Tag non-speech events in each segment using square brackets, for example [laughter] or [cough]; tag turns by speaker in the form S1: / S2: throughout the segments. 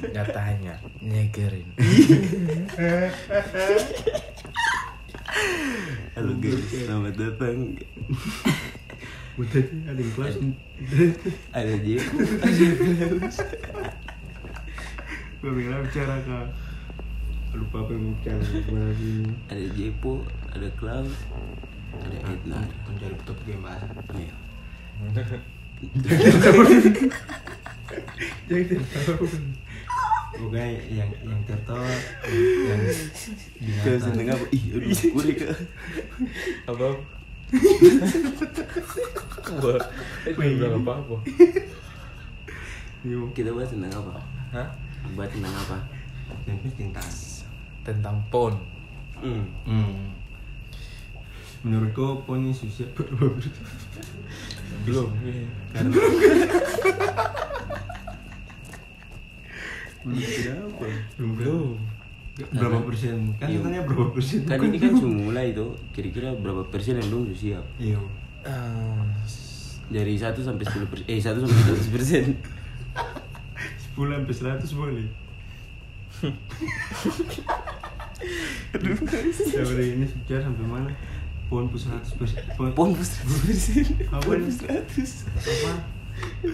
S1: Katanya nyegerin.
S2: Halo guys, selamat datang.
S3: Udah deh, ada yang kelas
S2: Ada dia.
S3: Gue bilang bicara kak Lupa apa yang mau bicara Gimana ini
S2: ada Jepo, ada Klaus, ada Ednar.
S4: Mencari topik yang bahas.
S2: Iya. Ya,
S3: Jangan tahu
S4: Bukan yang yang tertawa,
S2: [laughs]
S4: yang
S2: Kau seneng
S4: binatang.
S2: apa? Ih, aduh, gue deh kak.
S1: Apa? Gua eh, gua bilang apa [laughs] apa?
S3: Yuk
S2: Kita bahas tentang apa?
S1: Hah?
S2: Bahas tentang apa?
S4: Yang percintaan.
S1: Tentang pon.
S2: Hmm.
S1: Hmm.
S4: Menurut kau poni susah
S1: Belum.
S3: Kenapa?
S4: Belum. Berapa
S2: Karena-
S4: persen? Kan
S2: Iya.
S4: katanya berapa persen?
S2: Kan ini
S3: Iya.
S2: kan semula itu kira-kira berapa persen yang belum siap?
S4: Iya.
S1: Ah,
S2: Dari 1 sampai 10 persen. Eh, 1 sampai 100 persen.
S4: 10 sampai 100 boleh. Aduh, dari ini sejarah sampai mana? Pohon pun 100 persen. Pohon
S2: Pon pun 100 persen.
S4: Apa
S2: Pon
S4: ini?
S2: pun 100.
S4: apa?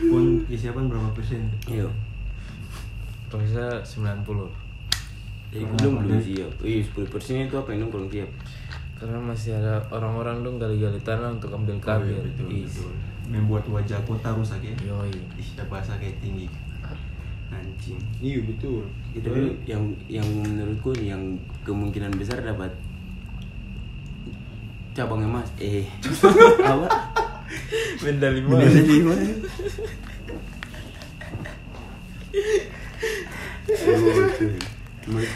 S4: Pohon kesiapan berapa persen?
S2: Iya.
S1: kalau bisa 90.
S2: Jadi belum belum siap. Iya, 10 persen itu apa yang belum siap?
S1: Karena masih ada orang-orang dong gali-gali tanah untuk ambil kabel.
S4: betul,
S1: Is.
S4: betul. Membuat wajah kota rusak ya.
S1: Yoi.
S4: Ih, udah bahasa kayak tinggi. Anjing.
S3: Iya betul
S2: Gitu, tapi yang yang menurutku nih, yang kemungkinan besar dapat cabang emas eh [laughs] apa
S1: Medali
S2: medali lima menurutku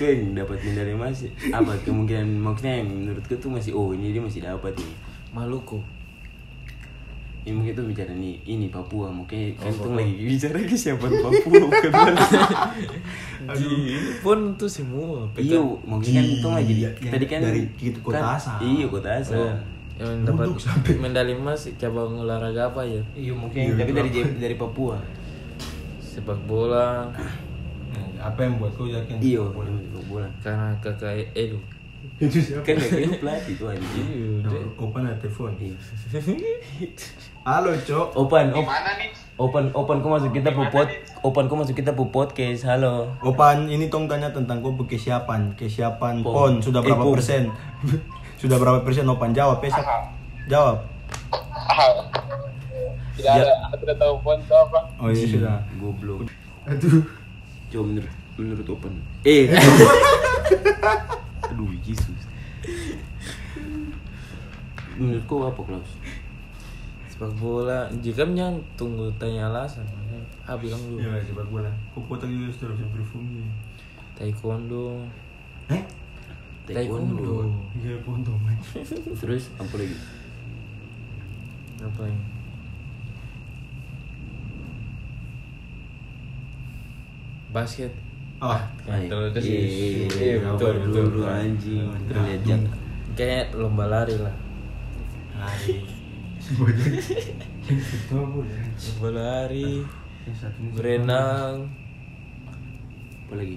S2: yang dapat medali emas apa kemungkinan maksudnya yang menurutku tuh masih oh ini dia masih dapat nih
S1: Maluku.
S2: ini mungkin tuh bicara nih ini Papua mungkin kan tuh
S1: Oh, Papua.
S2: lagi bicara ke siapa Papua bukan Malaysia.
S1: Di pon tuh semua.
S2: iya
S1: pekan-
S2: mungkin kan tuh lagi di-
S4: Iya, yang
S2: tadi kan
S4: dari gitu kota
S2: kan-
S4: asal.
S2: iya kota asal
S1: Oh, yang dapat
S4: Duduk sampai.
S1: medali emas cabang olahraga apa ya?
S2: Iya mungkin tapi dari Jep- dari Papua.
S1: Sepak bola.
S4: Nah, apa yang buat kau yakin?
S2: Iya, sepak bola.
S1: Karena kakak Edu.
S3: Itu siapa?
S2: Kan ya kan pelatih tuh anjing.
S1: Iya, [laughs]
S4: Nah,
S1: deh.
S4: Open ada telepon.
S2: Iya.
S4: Halo, Cok.
S2: Open, open. Open, open kok masuk kita po pod, open kok masuk kita po podcast. Halo.
S4: Opan, ini tong tanya tentang kau kesiapan, kesiapan
S2: Pon.
S4: pon sudah
S2: Eh,
S4: berapa
S2: pon.
S4: persen? [laughs] sudah berapa persen Opan jawab ya? Sat. Jawab. Ya.
S5: Tidak ada, aku tidak tahu pun itu apa.
S4: Oh iya sudah.
S2: Goblok.
S3: Aduh
S2: Coba menurut menurut open. Eh. [laughs] Aduh, Yesus. Menurut kau apa, Klaus?
S1: Sepak bola. Jika yang tunggu tanya alasan. Ah bilang dulu.
S4: Ya sepak bola. Kau potong juga sudah ya? bisa berfungsi.
S1: Taekwondo.
S4: Eh?
S2: Taekwondo.
S4: Iya pon tuh main.
S2: Terus apa lagi?
S1: Apa ya? Basket.
S4: Ah,
S2: Ay,
S1: Oh, Terus
S2: iya, iya,
S1: iya,
S2: iya,
S1: betul,
S2: sabar
S1: betul.
S2: dulu, anjing. Lihat jam.
S1: Kayak lomba lari lah.
S4: lari. Sebanyak. Itu boleh.
S1: Lomba lari,
S4: ya? Yang satu
S1: Nah,
S4: ini
S1: berenang,
S2: Apa lagi?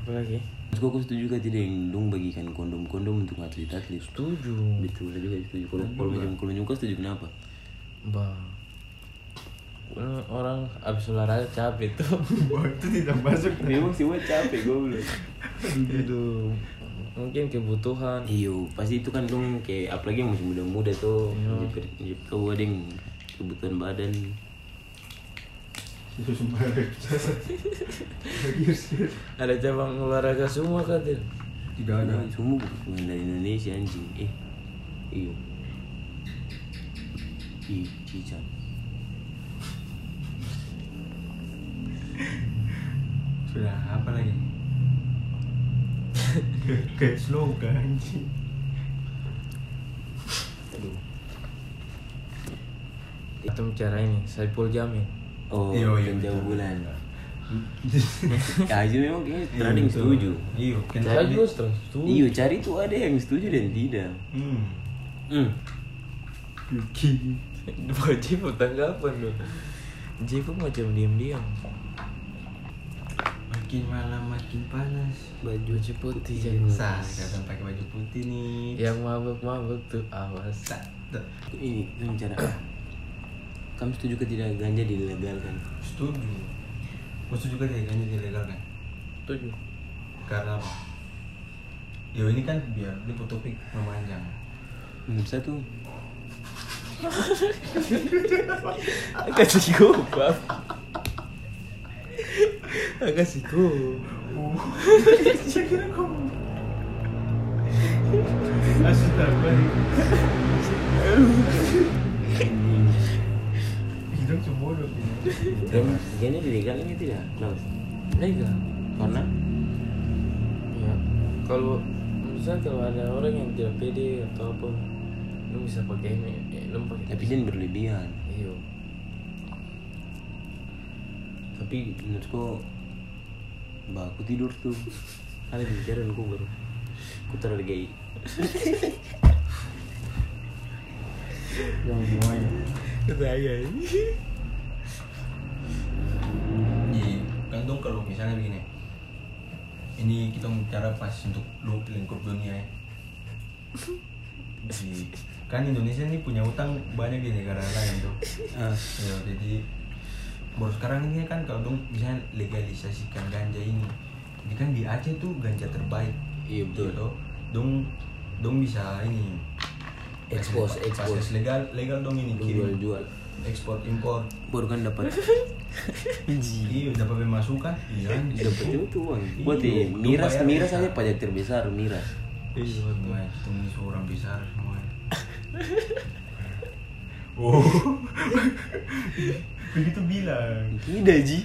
S1: apa lagi?
S2: Terus kok setuju kan tidak yang dong bagikan kondom-kondom untuk atlet-atlet?
S1: Tujuh.
S2: Betul saya juga setuju. Kalau kalau macam kalau macam kau setuju kenapa?
S1: Bang. Orang- Orang abis olahraga capek tuh. [laughs]
S4: Wah, itu tidak masuk.
S2: Memang sih gue capek gue belum.
S4: Aduh.
S1: Mungkin kebutuhan.
S2: Iyo, pasti itu kan dong kayak apalagi yang masih muda-muda tuh. Jepit- jepit Kau ada yang kebutuhan badan.
S4: Itu sembarang.
S1: Ada cabang olahraga semua kan Tin?
S4: Tidak ada.
S2: Nah, semua bukan dari Indonesia anjing. Eh, iyo. Ih, cicat.
S4: Sudah, apa
S3: [laughs]
S4: lagi? Kayak slow kan anjing.
S2: Aduh.
S1: Itu cara ini, Saipul Jamin.
S2: Oh,
S4: Iyo, iyo,
S2: jam
S4: betul.
S2: [laughs] bulan. Ya, itu memang kayaknya tidak ada yang setuju.
S4: Iya, kan
S1: Saya
S4: tadi-
S1: juga terus tuh.
S2: [laughs] Iyo, cari tuh ada yang setuju dan tidak.
S4: Hmm.
S2: Hmm.
S4: Yuki.
S1: Bocil pertanggapan loh. Jepang macam diam-diam
S4: Makin malam makin panas.
S1: baju
S2: Iya,
S1: putih jadi
S4: Sas. Kadang pakai baju putih nih.
S1: yang mabuk-mabuk tuh awas
S4: Sas. Tuh.
S2: ini kita bicara [coughs] kamu setuju ke tidak ganja dilegalkan
S4: Setuju. Gue setuju kan ya ganja dilegal kan?
S1: tujuh
S4: Karena apa? Ya ini kan biar ini topik memanjang.
S2: menurut saya tuh
S1: [laughs] agak sih bab agak sih
S3: Astaga. Kita semua udah
S2: gan- ganja dilegalkan ya tidak Laos
S1: legal
S2: karena
S1: ya kalau misal kalau ada orang yang tidak pede atau apa lu bisa pakai ini Iya. eh, lu pakai
S2: tapi jangan berlebihan
S1: iyo
S2: tapi menurutku mbak aku tidur tuh ada bicara aku baru aku terlalu gay
S3: Yang semuanya.
S1: saya
S4: Jadi gantung Iya, kalau misalnya begini. Ini kita bicara pas untuk lu lingkup dunia ya. Jadi, kan Indonesia ini punya utang banyak di negara lain tuh.
S2: Ah,
S4: Ya, jadi baru sekarang ini kan kalau dong bisa legalisasikan ganja ini. Jadi kan di Aceh tuh ganja terbaik.
S2: Iya, betul.
S4: Tuh, dong dong bisa ini.
S2: Expose,
S4: Pas- pas
S2: expose.
S4: legal legal dong ini
S2: jual jual
S4: ekspor impor.
S2: baru kan dapat [laughs]
S4: Iya, dapat pemasukan. Iya.
S2: dapat itu tuh uang buat di-
S4: Iya,
S2: miras
S4: bayar
S2: miras
S4: bisa.
S2: aja pajak terbesar miras
S4: Iya, semuanya tunggu seorang besar semuanya. Oh,
S3: [laughs] Begitu bilang.
S2: tidak ji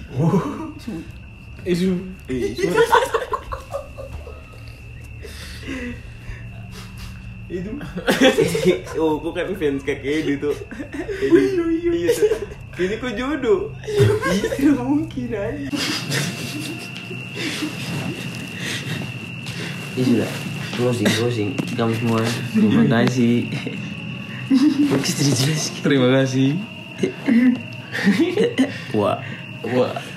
S1: isu
S2: Eh,
S3: Itu
S2: [laughs] oh aku kan fans kakek Edi tuh Edi iya tuh ini kok jodoh itu mungkin aja ya sudah closing closing kamu semua terima kasih terima kasih wah wah